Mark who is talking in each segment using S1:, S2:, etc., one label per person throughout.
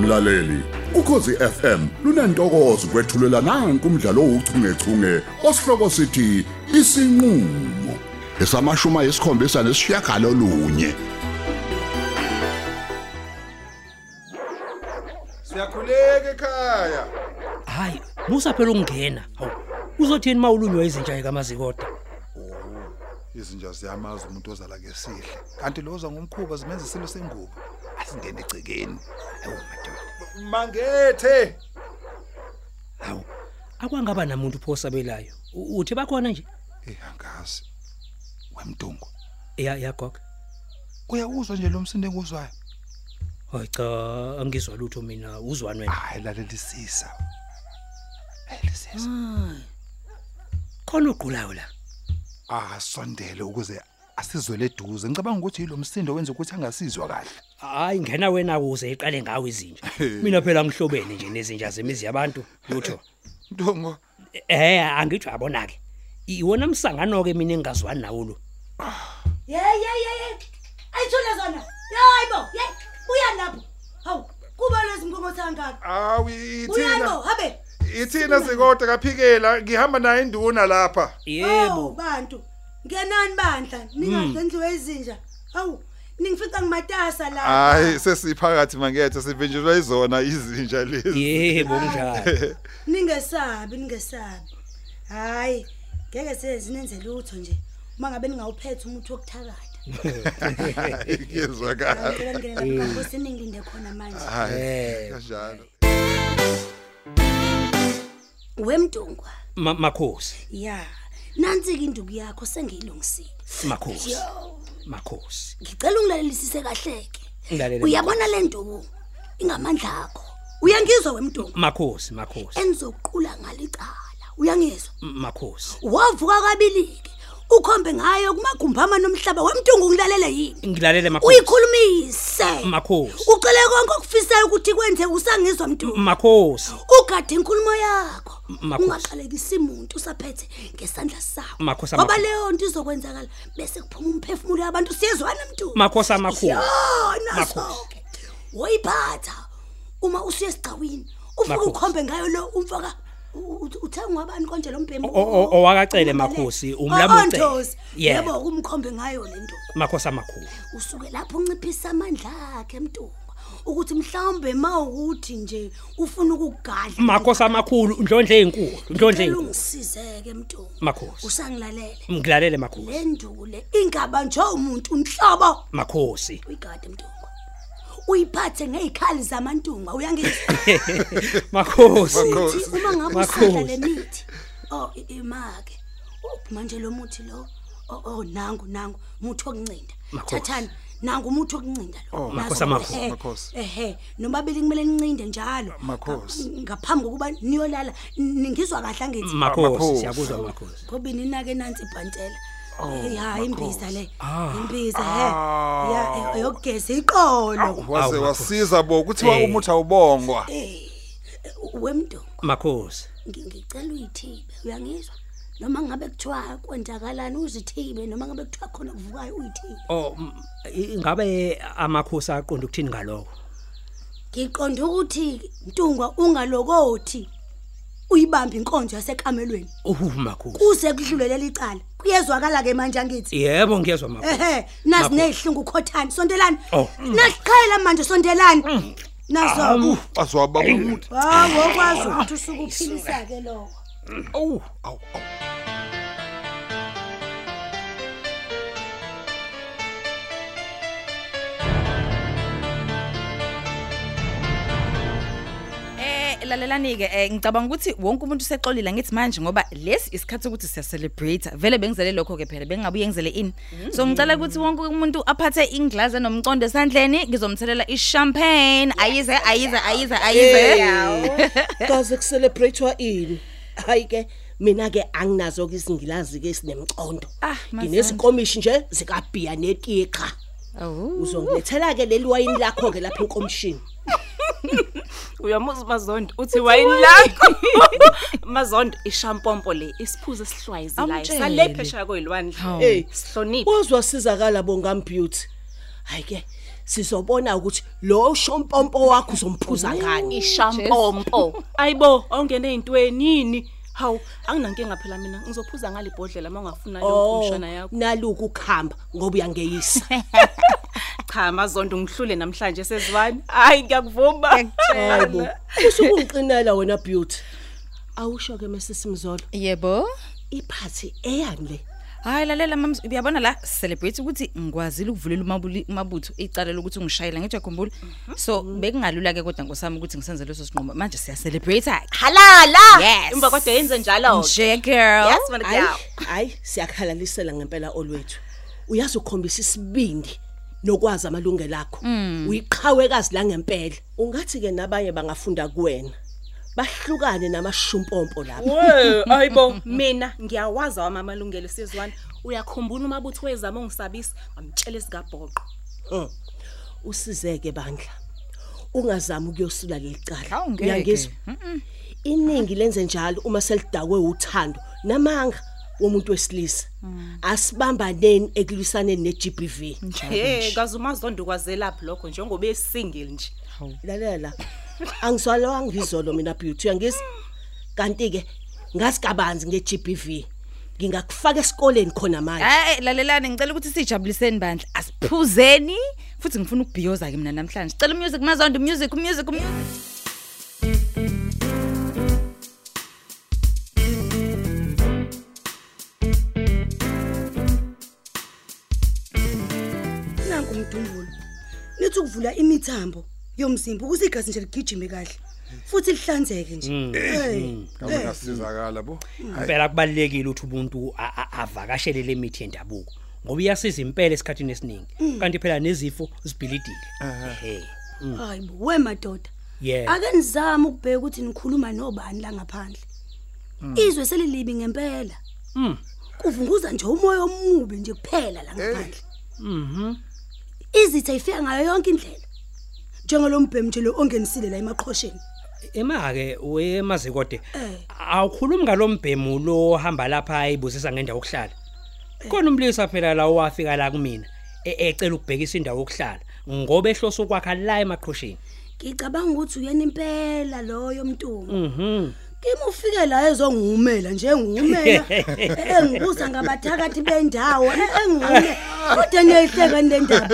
S1: mlaleli ukhosi FM lunantokozo kwethulela nange umdlalo ouchungechunge osihloko sithi isinqulo esamashuma esikhombisa nesishiyagalo lunye
S2: siyakhuleka ekhaya
S3: hayi musa phela ukungena hawu uzothini mawulunywa izintsha ekamazikoda
S2: izinja ziyamaza umuntu ozala ngesihle kanti loza ngumkhuba zimenza isilo sengubo asingene egcekeni hawu madoda mangethe
S3: hawu akwangaba namuntu phosabelayo U- uthi bakhona nje
S2: Eh, eyangazi wemtungu
S3: ya yagogo
S2: uyawuzwa nje lo msindo enguzwayo
S3: hayi cha angizwa lutho mina uzwani wena
S2: hayi lalelisisa elisisa
S3: khona ugqulayo la
S2: asondele ukuze asizwele eduze ngicabanga ukuthi yilo msindo wenza ukuthi angasizwa kahle
S3: hayi ngena wena kuze iqale ngawe izinja mina phela ngihlobene nje nezinja zemizi yabantu lutho
S2: mtungu
S3: eh angithi yabona ke iwona umsangano ke mina engazwani nawo lo
S4: Hey hey hey. Ayithule zona. Hayibo, hey. Buya lapho. Hawu, kuba lezinkomo sangaka.
S2: awu
S4: Uyayibo, habe.
S2: ithina zikoda kaphikela ngihamba naye induna lapha
S4: Hawu, bantu. Ngenani bandla, ningadlendliwe izinja. Hawu, ningifica ngimatasa la.
S2: hayi sesiphakathi mangethe sivinjelwa izona izinja lezi
S3: yebo mnjalo
S4: Ningesabi, ningesabi. Hayi, ngeke sezinenze lutho nje. Uma ngabe ningawuphethe umuthi wokuthakatha.
S2: ngizwa kahle
S4: Ngicela ngene lapha ngoba ningilinde khona manje.
S2: hayi
S3: Eh.
S2: kanjalo
S4: Wemdungwa.
S3: Ma- makhosi
S4: Ya. Nansi ke induku yakho sengiyilungisile.
S3: makhosi makhosi
S4: ngicela ungilaelelisise kahleke
S3: Ngilalele.
S4: uyabona le nduku ingamandla akho uyangizwa wemntungu
S3: makhosi makhosi
S4: enizoqula ngalicala uyangizwa
S3: M- makhosi
S4: wavuka kwabilike ukhombe ngayo kumagumphama nomhlaba wemntungu ngilalele yini
S3: ngilalele makhosi
S4: uyikhulumise
S3: makhosi
S4: ucele konke okufisayo ukuthi kwenze usangizwa mntungu
S3: makhosi
S4: ugade inkulumo yakho
S3: Makhosi.
S4: ungaqalekisi umuntu usaphethe ngesandla sakho
S3: Makhosi,
S4: ngoba
S3: amakhosi.
S4: leyo nto izokwenzakala bese kuphuma umphefumulo yabantu siyezwana mntu
S3: Makhosi, amakhosi.
S4: yona
S3: Makhosi.
S4: soke woyiphatha uma usuye esigcawini ufike
S3: Makhosi.
S4: ukhombe ngayo lo umfaka u- u- uthengwa abantu konje lo mbhemu
S3: O- o- o- owakacele, makhosi, umlamuce. Yeah.
S4: ah, yebo umkhombe ngayo le nto
S3: makhosi amakhulu
S4: usuke lapho unciphisa amandla akhe mntunga ukuthi mhlawumbe mawukuthi nje ufuna ukugadla
S3: makhosi amakhulu ndlondle inkulu ndlondle inkulu
S4: ungisizeke mntunga
S3: makhosi
S4: usangilalele
S3: ngilalele makhosi
S4: le ndule ingaba nje umuntu unhlobo
S3: makhosi
S4: uyigade mntunga uyiphathe ngey'khali zamantunga uyangizwa
S3: makhosi
S2: Makhosi.
S4: Uthi uma ngabe usadla le mithi o imake manje lo muthi lo o oh, nangu nangu muthi okuncinda
S3: Makhosi.
S4: thathani nangu umuthi okuncinda lo
S3: Makhosi
S4: Nazo-
S3: amakhosi,
S4: ehe,
S2: makhosi.
S4: ehe nomabili kumele nincinde njalo
S2: Makhosi.
S4: Nga- ngaphambi kokuba niyolala n- ningizwa kahle angithi
S3: makhosi
S2: Makhosi.
S3: siyakuzwa makhosi
S4: ngoba ninake nansi ibhantela Eh, ya
S2: makhosi.
S4: imbiza le
S3: Ah.
S4: imbiza
S2: Ah.
S4: he ya eh, eyokugeza iqolo
S2: waze
S3: Awu,
S2: wasiza bo kuthiwa
S3: Eh.
S2: umuthi awubongwa
S4: eh wemntu
S3: makhosi
S4: Ngi- ngicela uyithibe uyangizwa noma ngabe kuthiwa kwenzakalani uzithibe noma ngabe kuthiwa khona kuvukayo uyithibe
S3: o Oh, m- i- ngabe amakhosi aqonda ukuthini ngaloko
S4: ngiqonde ukuthi ntungwa ungalokothi uyibambe inkonzo yasekamelweni
S3: uhu makhosi
S4: kuze kudlulelela icala kuyezwakala ke manje angithi
S3: yebo ngiyezwa makhosi
S4: ehe nazi
S3: Makhosi.
S4: nezihlungu ukhothani sondelani
S3: Oh. Mm.
S4: nasiqhayela manje sondelani nazo
S3: Awu.
S2: azwaba umuthi
S4: hawo kwazi ukuthi usuke uphilisa ke lokho
S3: owu
S2: awu awu
S5: Eh lalelani ke eh ngicabanga ukuthi wonke umuntu usexolile ngithi manje ngoba lesi isikhathi ukuthi siya celebrate vele bengizele lokho ke phela bengabuye ngizele ini so ngicela ukuthi wonke umuntu aphathe inglass enomcondo esandleni ngizomthelela ishampagne ayize ayize ayize ayize
S6: kaze kucelebrate ini hayi ke mina ke anginazo ke izingilazi ke sinemcondo
S5: Ah, mazanda.
S6: nginezikomishi nje zikabhiya netika
S5: Oh
S6: uzongilethela ke leli wayini lakho ke lapha enkomishini
S7: uyamuza mazondo uthi wayini lakho mazondo ishampompo le isiphuzo esihlwayizelayo
S5: Amtshele.
S7: sale phesheya kwey'lwandle
S6: hey
S7: sihloniphe
S6: wozwa sizakala bongam beauty hayi ke sizobona ukuthi lo shompompo wakho uzomphuza ngani
S7: ishampompo ayibo awungene ezintweni yini hawu anginankinga phela mina ngizophuza ngale bhodlela uma ungafuna lokho umshana yakho
S6: naluku khamba Oh, ngoba uyangeyisa
S7: cha mazondo ngihlule namhlanje sezwani hayi ngiyakuvuma
S6: yebo usukungiqinela wena beauty awusho ke mesisimzolo
S5: Yebo.
S6: iphathi eyani le
S5: Hayi lalela mams uyabona la celebrate ukuthi ngikwazile ukuvulela umabuli- umabutho icala lokuthi ungishayela ngitshe khumbula. So bekungalula ke kodwa ngosami ukuthi ngisenze leso sinqumo manje siya celebrate ke.
S7: halala
S5: Yes.
S7: imba kodwa yenze njalo
S5: Nje girl.
S7: yes manje
S6: hayi
S7: girl
S6: hayi siyakhalalisela ngempela olwethu uyazi ukhombisa isibindi nokwazi amalungelo akho
S5: Mm.
S6: uyiqhawekazi la ngempela ungathi ke nabanye bangafunda kuwena bahlukane namashumpompo lapha
S7: Woah, ayibo mina ngiyawaza wamamalungelo sizwana uyakhumbula umabutho wezama ungisabisa ngamtshela esigabhoqo
S6: Mm. usizeke bandla ungazami ukuyosula leli cala
S5: Hawu, ngeke.
S6: uyangizwa iningi lenze njalo uma selidakwe uthando namanga womuntu wesilisa
S5: Mm.
S6: asibambaneni ekulwisaneni ne-GBV
S7: hey kazumazondo kwazela blokho njengoba esingle nje
S6: lalela la angizwalwa ngizolo mina beauty uyangizwa kanti ke ngasikabanzi nge-GBV ngingakufaka esikoleni khona manje
S5: Hayi lalelani ngicela ukuthi sijabuliseni bandla. Asiphuzeni futhi ngifuna ukubhiyoza ke mina namhlanje. Cela music mazondo music music music.
S4: nanku umdumbulo nithi ukuvula imithambo yomzimba ukuze igazi nje ligijime kahle futhi lihlanzeke nje hey
S2: Kamona sizakala bo.
S3: impela kubalekile ukuthi umuntu a- a- avakashele lemithi yendabuko ngoba iyasiza impela esikhatini esiningi kanti phela nezifo zibhilidile ehe
S4: hayi bo, we madoda
S3: yeah
S4: ake nizame ukubheka ukuthi nikhuluma nobani la ngaphandle izwe selilibi ngempela kuvunguza nje umoya omubi nje kuphela la ngaphandle
S3: Mhm.
S4: izitha ifika ngayo yonke indlela njengalombhemu nje lo ongenisile la emaqhosheni
S3: emake wemazi kodwa
S4: Eh.
S3: awukhulumi ngalombhemu lo ohamba lapha ayibuzisa ngendawo yokuhlala khona umlisa phela la owafika la kumina e- ecela ukubhekisa indawo yokuhlala ngoba ehloso ukwakha la emaqhosheni
S4: ngicabanga ukuthi uyena impela loyo mntungu
S3: mhm
S4: kimi ufike la ezongihumela nje engihumela engibuza ngabathakathi bendawo engihume kodwa niyayihleka nendaba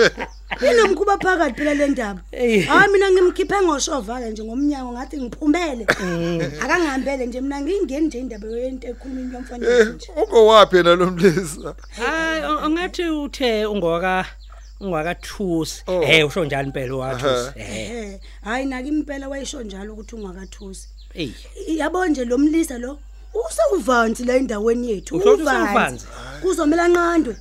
S4: linomkhuba phakathi phela le ndaba
S3: Eh.
S4: hayi mina ngimkhiphe ngoshovala nje ngomnyango ngathi ngiphumele akangihambele nje mina ngiyingeni nje indaba yento ekhulumini yomfanekiso
S2: Eh.
S4: nje
S2: Ungowapi yena lo mlisa?
S3: hayi u- ungathi uthe ungaka ungakathusi
S2: Oh.
S3: eh usho njalo impela wakathusi eh
S4: ehe hayi naki impela wayisho njalo ukuthi ungakathusi
S3: ey
S4: yabo nje lo mlisa lo usewuvanzi la endaweni yethu
S3: Usho ukuthi usewuvanzi?
S4: kuzomela nqandwe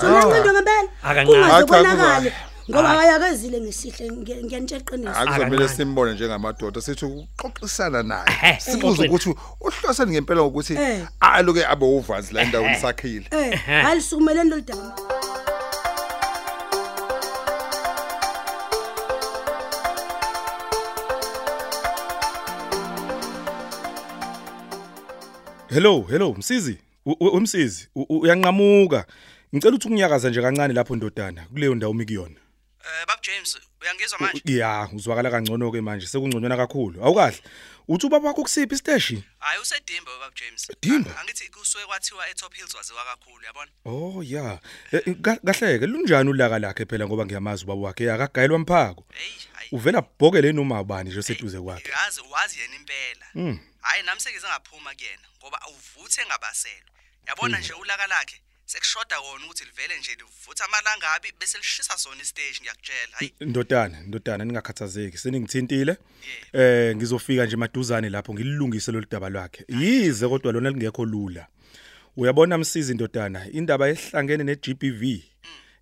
S4: somanqandwe ngempela
S3: Akanqandwa.
S4: kungazobonakali
S2: Acha,
S4: ngoba wayakezile ngesihle ngiya- ngiyanitsha iqiniso
S2: Akuzomela
S3: Akancane.
S2: simbone njengamadoda sithi uxoxisana
S3: Ehhe,
S2: naye. Sibuze
S3: sixoxeni.
S2: ukuthi uhlosani ngempela ukuthi
S4: Eh.
S2: aloke abe uvanzi la endaweni sakhile.
S4: eh hayi lisukumeleni loludaba
S8: Hello, hello Msizi. U- u- Umsizi u- u- uyanqamuka. Ngicela ukuthi unginyakaza nje kancane lapho ndodana kuleyo ndawo mikuyona.
S9: Eh bab James uyangizwa manje?
S8: Ya, uzwakala kangcono ke manje, sekungconywana kakhulu. Awukahle. Uthi ubaba wakho kusiphi isiteshi?
S9: Hayi usedimba bab James.
S8: Dimba?
S9: A- Angithi kusuke kwathiwa eTop Hills waziwa kakhulu yabona?
S8: Oh ya. Eh, ka- Kahleke lunjani ulaka lakhe phela ngoba ngiyamazi ubaba wakhe akagayelwa mphako.
S9: Hey, hayi.
S8: Uvela bhokele noma ubani nje seduze kwakhe.
S9: Yazi wazi yena
S5: Hmm.
S9: impela. Hayi nami sengizengaphuma kuyena ngoba awuvuthe ngabaselwe. Yabona
S5: Hmm.
S9: nje ulaka lakhe sekushoda kona ukuthi livele nje livutha amalangabi bese lishisa sona istage ngiyakutshela. Hayi
S8: Ndodana, ndodana ningakhathazeki, seningithintile. Eh ngizofika nje maduzane lapho ngilungise lo daba lwakhe. Yize kodwa lona lingekho lula. Uyabona msizi ndodana, indaba ehlangene neGBV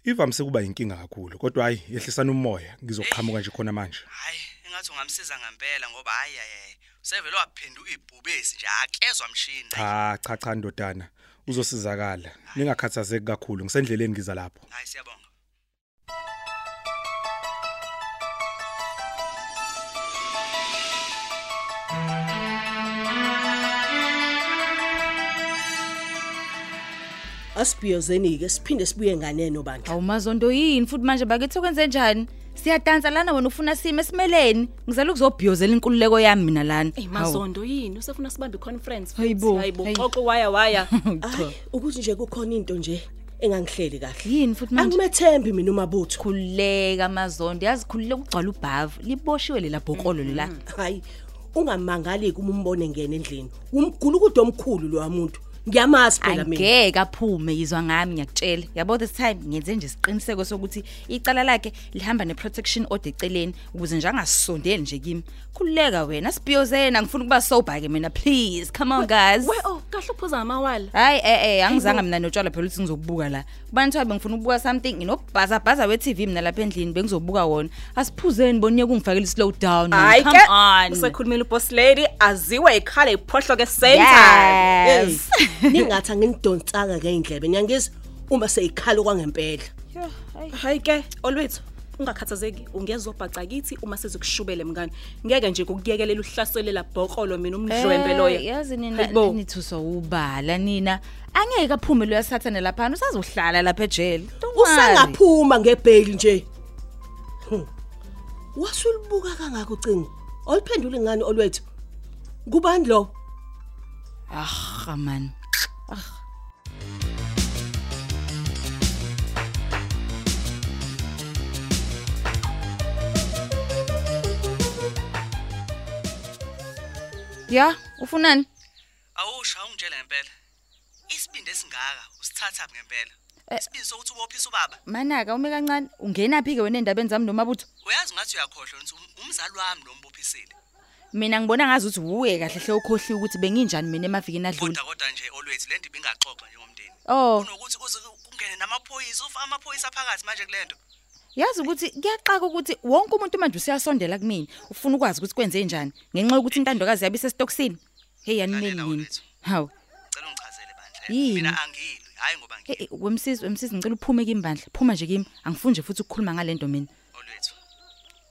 S8: ivamise kuba inkinga kakhulu, kodwa hayi yehlisana umoya, ngizoqhamuka nje khona manje.
S9: hayi engathi ungamsiza ngempela ngoba hayi hayi. Sevele waphenduka ibhubesi nje akezwa mshini.
S8: Cha cha cha ndodana, uzosizakala. Ningakhathazeki kakhulu, ngisendleleni ngiza lapho.
S9: Hayi siyabonga.
S6: asibhiyozeni ke siphinde sibuye nganeno bandla
S5: Awumazondo yini futhi manje bakithi kwenze njani? siyadansa lana wena ufuna sime esimeleni ngizela ukuzobhiyozela inkululeko yami mina lana
S7: Ey
S5: Hawu.
S7: mazondo yini usefuna sibambe iconference
S5: Hayibo,
S7: hayibo
S5: hayi.
S7: xoxo waya waya
S6: Hayi, ukuthi nje kukhona into nje engangihleli kahle.
S5: yini futhi manje
S6: Angimethembi mina umabutho.
S5: khululeka mazondo yazi khululeka ukugcwala ubhavu liboshiwe lela bhokolo lela
S6: Hayi, ungamangali kuma umbone ngene endlini. Umgulukudo omkhulu lo wamuntu. Ngiyamazi phela mina.
S5: angeke aphume yizwa ngami ngiyakutshela yabo this time ngenze nje isiqiniseko sokuthi icala lakhe lihamba ne-protection order eceleni ukuze nje angasondeli nje kimi khululeka wena sibhiyozena ngifuna ukuba sober-ke mina please come on guys
S7: we oh kahle uphuza ngamawala
S5: hayi e-e angizange mina notshwala phela ukuthi ngizobuka la kubanithiwa bengifuna ukubuka something nginobhazabhaza we-tv mina lapha endlini bengizobuka wona asiphuzeni boniye kungifakela i-slow down man.
S7: hayi
S5: Come on.
S7: ke usekhulumile uboss lady aziwe ikhala iphohlo ke same time
S5: yes
S6: Ningathi angingidonsanga ngeindlebe. Nyangizwa uma seyikhala kwangempela.
S7: hayi ke olwethu ungakhathazeki ungezobhaca kithi uma sizikushubele mngane ngeke nje kukuyekelela uhlaselela bhokolo mina umdlwembe loyo
S5: Eh, yazi
S7: Hayibo.
S5: nina nithuswa ubala nina angeke aphume loya sathane laphana usazohlala lapha ejele Don't worry.
S6: usangaphuma ngebheli nje Hmm. wasulibuka kangaka ucingo oliphendule ngani olwethu kubani lo
S5: ah man ya ufunani
S9: Awusha ungitshela ngempela. Isibindi esingaka usithatha ngempela. Isibindi sokuthi ubophisa ubaba.
S5: manaka ume kancane ungenaphi ke wena endabeni zami nomabutho
S9: Uyazi ngathi uyakhohlwa ukuthi um- umzali wami lo mbophisile.
S5: mina ngibona ngazi ukuthi wuye kahle hle ukhohliwe ukuthi benginjani mina emavikini adlule
S9: Kodwa kodwa nje always le ndibe ingaxoxa njengomndeni.
S5: oh
S9: Kunokuthi uze kungene namaphoyisa ufaka amaphoyisa phakathi manje kulento.
S5: yazi ukuthi kuyaxaka ukuthi wonke umuntu manje usiyasondela kumina ufuna ukwazi ukuthi kwenze njani ngenxa yokuthi intandokazi yabe isesitokisini hey yanimeli
S9: Lalela
S5: yini
S9: wethu.
S5: hawu
S9: Cela ungichazele bandla.
S5: Yini?
S9: Mina angilwi, hayi ngoba
S5: hey
S9: ngilwi.
S5: wemsizwe wemsizwe ngicela uphume kimi bandla phuma nje kimi angifuni nje futhi ukukhuluma ngalento mina
S9: Olwethu.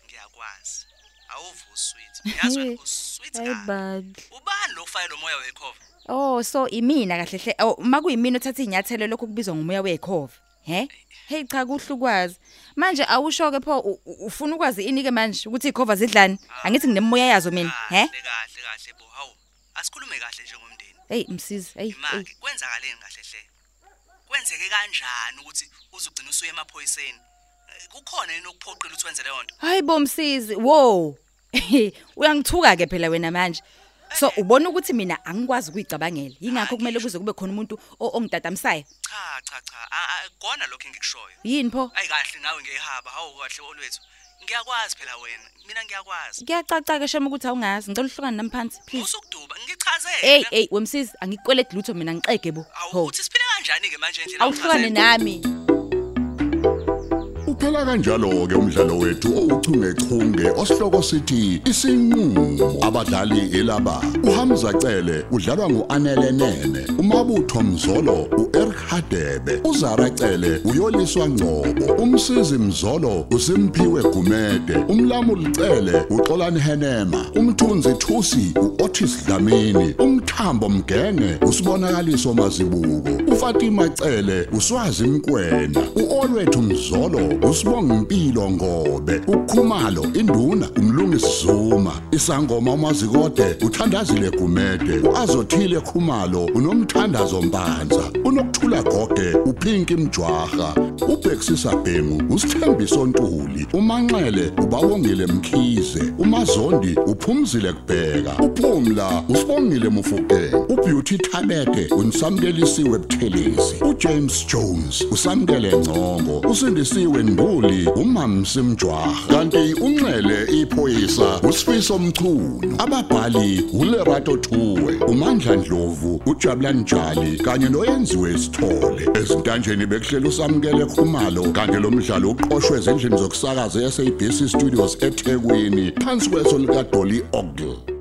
S9: Ngiyakwazi. Awuvu sweet. Uyazi wena usweet kabi.
S5: bad
S9: Ubani lo file lo moya wekhova?
S5: oh so imina kahle hle oh makuyimina othatha inyathelo lokho kubizwa ngomoya wekhova he hey cha kuhle ukwazi manje awusho ke pho u- u- ufuna ukwazi ini ke manje ukuthi ikhova zidlani angithi nginemoya yazo mina he
S9: Ah, Kahle kahle kahle bo. Hawu. Asikhulume kahle njengomndeni.
S5: hey msizwe hey hey.
S9: imake kwenzakaleni kahle hle kwenzeke kanjani ukuthi uzugcina usuye emaphoyiseni Eh, kukhona yini okuphoqile ukuthi wenze leyo nto
S5: Hayi bomsisi, wo. Uyangithuka ke phela wena manje. So ubona ukuthi mina angikwazi ukuyicabangela. Yingakho kumele kuze kube khona umuntu o- ongitatamisayo.
S9: cha cha cha a- a- kona lokho engikushoyo
S5: Yini pho?
S9: ayi kahle nawe ngehaba hawu kahle olwethu ngiyakwazi phela wena mina ngiyakwazi
S5: Kuyacaca ke shame ukuthi awungazi. Ngicela uhlukane nami phansi, please.
S9: usukuduba ngichazele
S5: Hey, hey, wemsisi, angikweleti lutho mina ngixege bo. Ho.
S9: awukuthi siphile kanjani ke manje endlela
S5: Awuhlukane nami.
S1: Uphela kanjalo ke umdlalo wethu owuchungechunge osihloko sithi isinqulo abadlali elaba uHamza Cele udlalwa nguAnele Nene uMabutho Mzolo uEric Hadebe uZara Cele uyoliswa Ngcobo umsizi Mzolo uSimpiwe Gumede umlamo ulicele uXolani Henema umthunzi Thusi uOtis Dlamini umthambo Mgenge usibonakaliso mazibuko uFatima Cele uswazi Mkwena uOlwethu Mzolo usibonga impilo ngobe uKhumalo induna umlungisi Zuma isangoma umazikode uthandazile Gumede uazothile Khumalo unomthandazo Mpanza unokuthula gogwe uPinki Mjwaha ubhekisisa Bhengu usithembiso Ntuli umanxele ubawongile Mkhize umazondi uphumzile kubheka uphumla usibongile Mufuke ubeauty Thabete unisamkelisiwe Buthelezi uJames Jones usamkele Ngcongo usindisiwe Nduli umamsi Mjwaha kanti unxele iphoyisa usifiso Mchunu ababhali uLerato Thuwe uMandla Ndlovu uJabulani Njali kanye noyenziwe Sithole ezintanjeni bekuhlela usamkele Khumalo kanti lo mdlalo uqoqwwe ezindlini zokusakaza yaseBC Studios eThekwini phansi kweso lika Dolly Ogle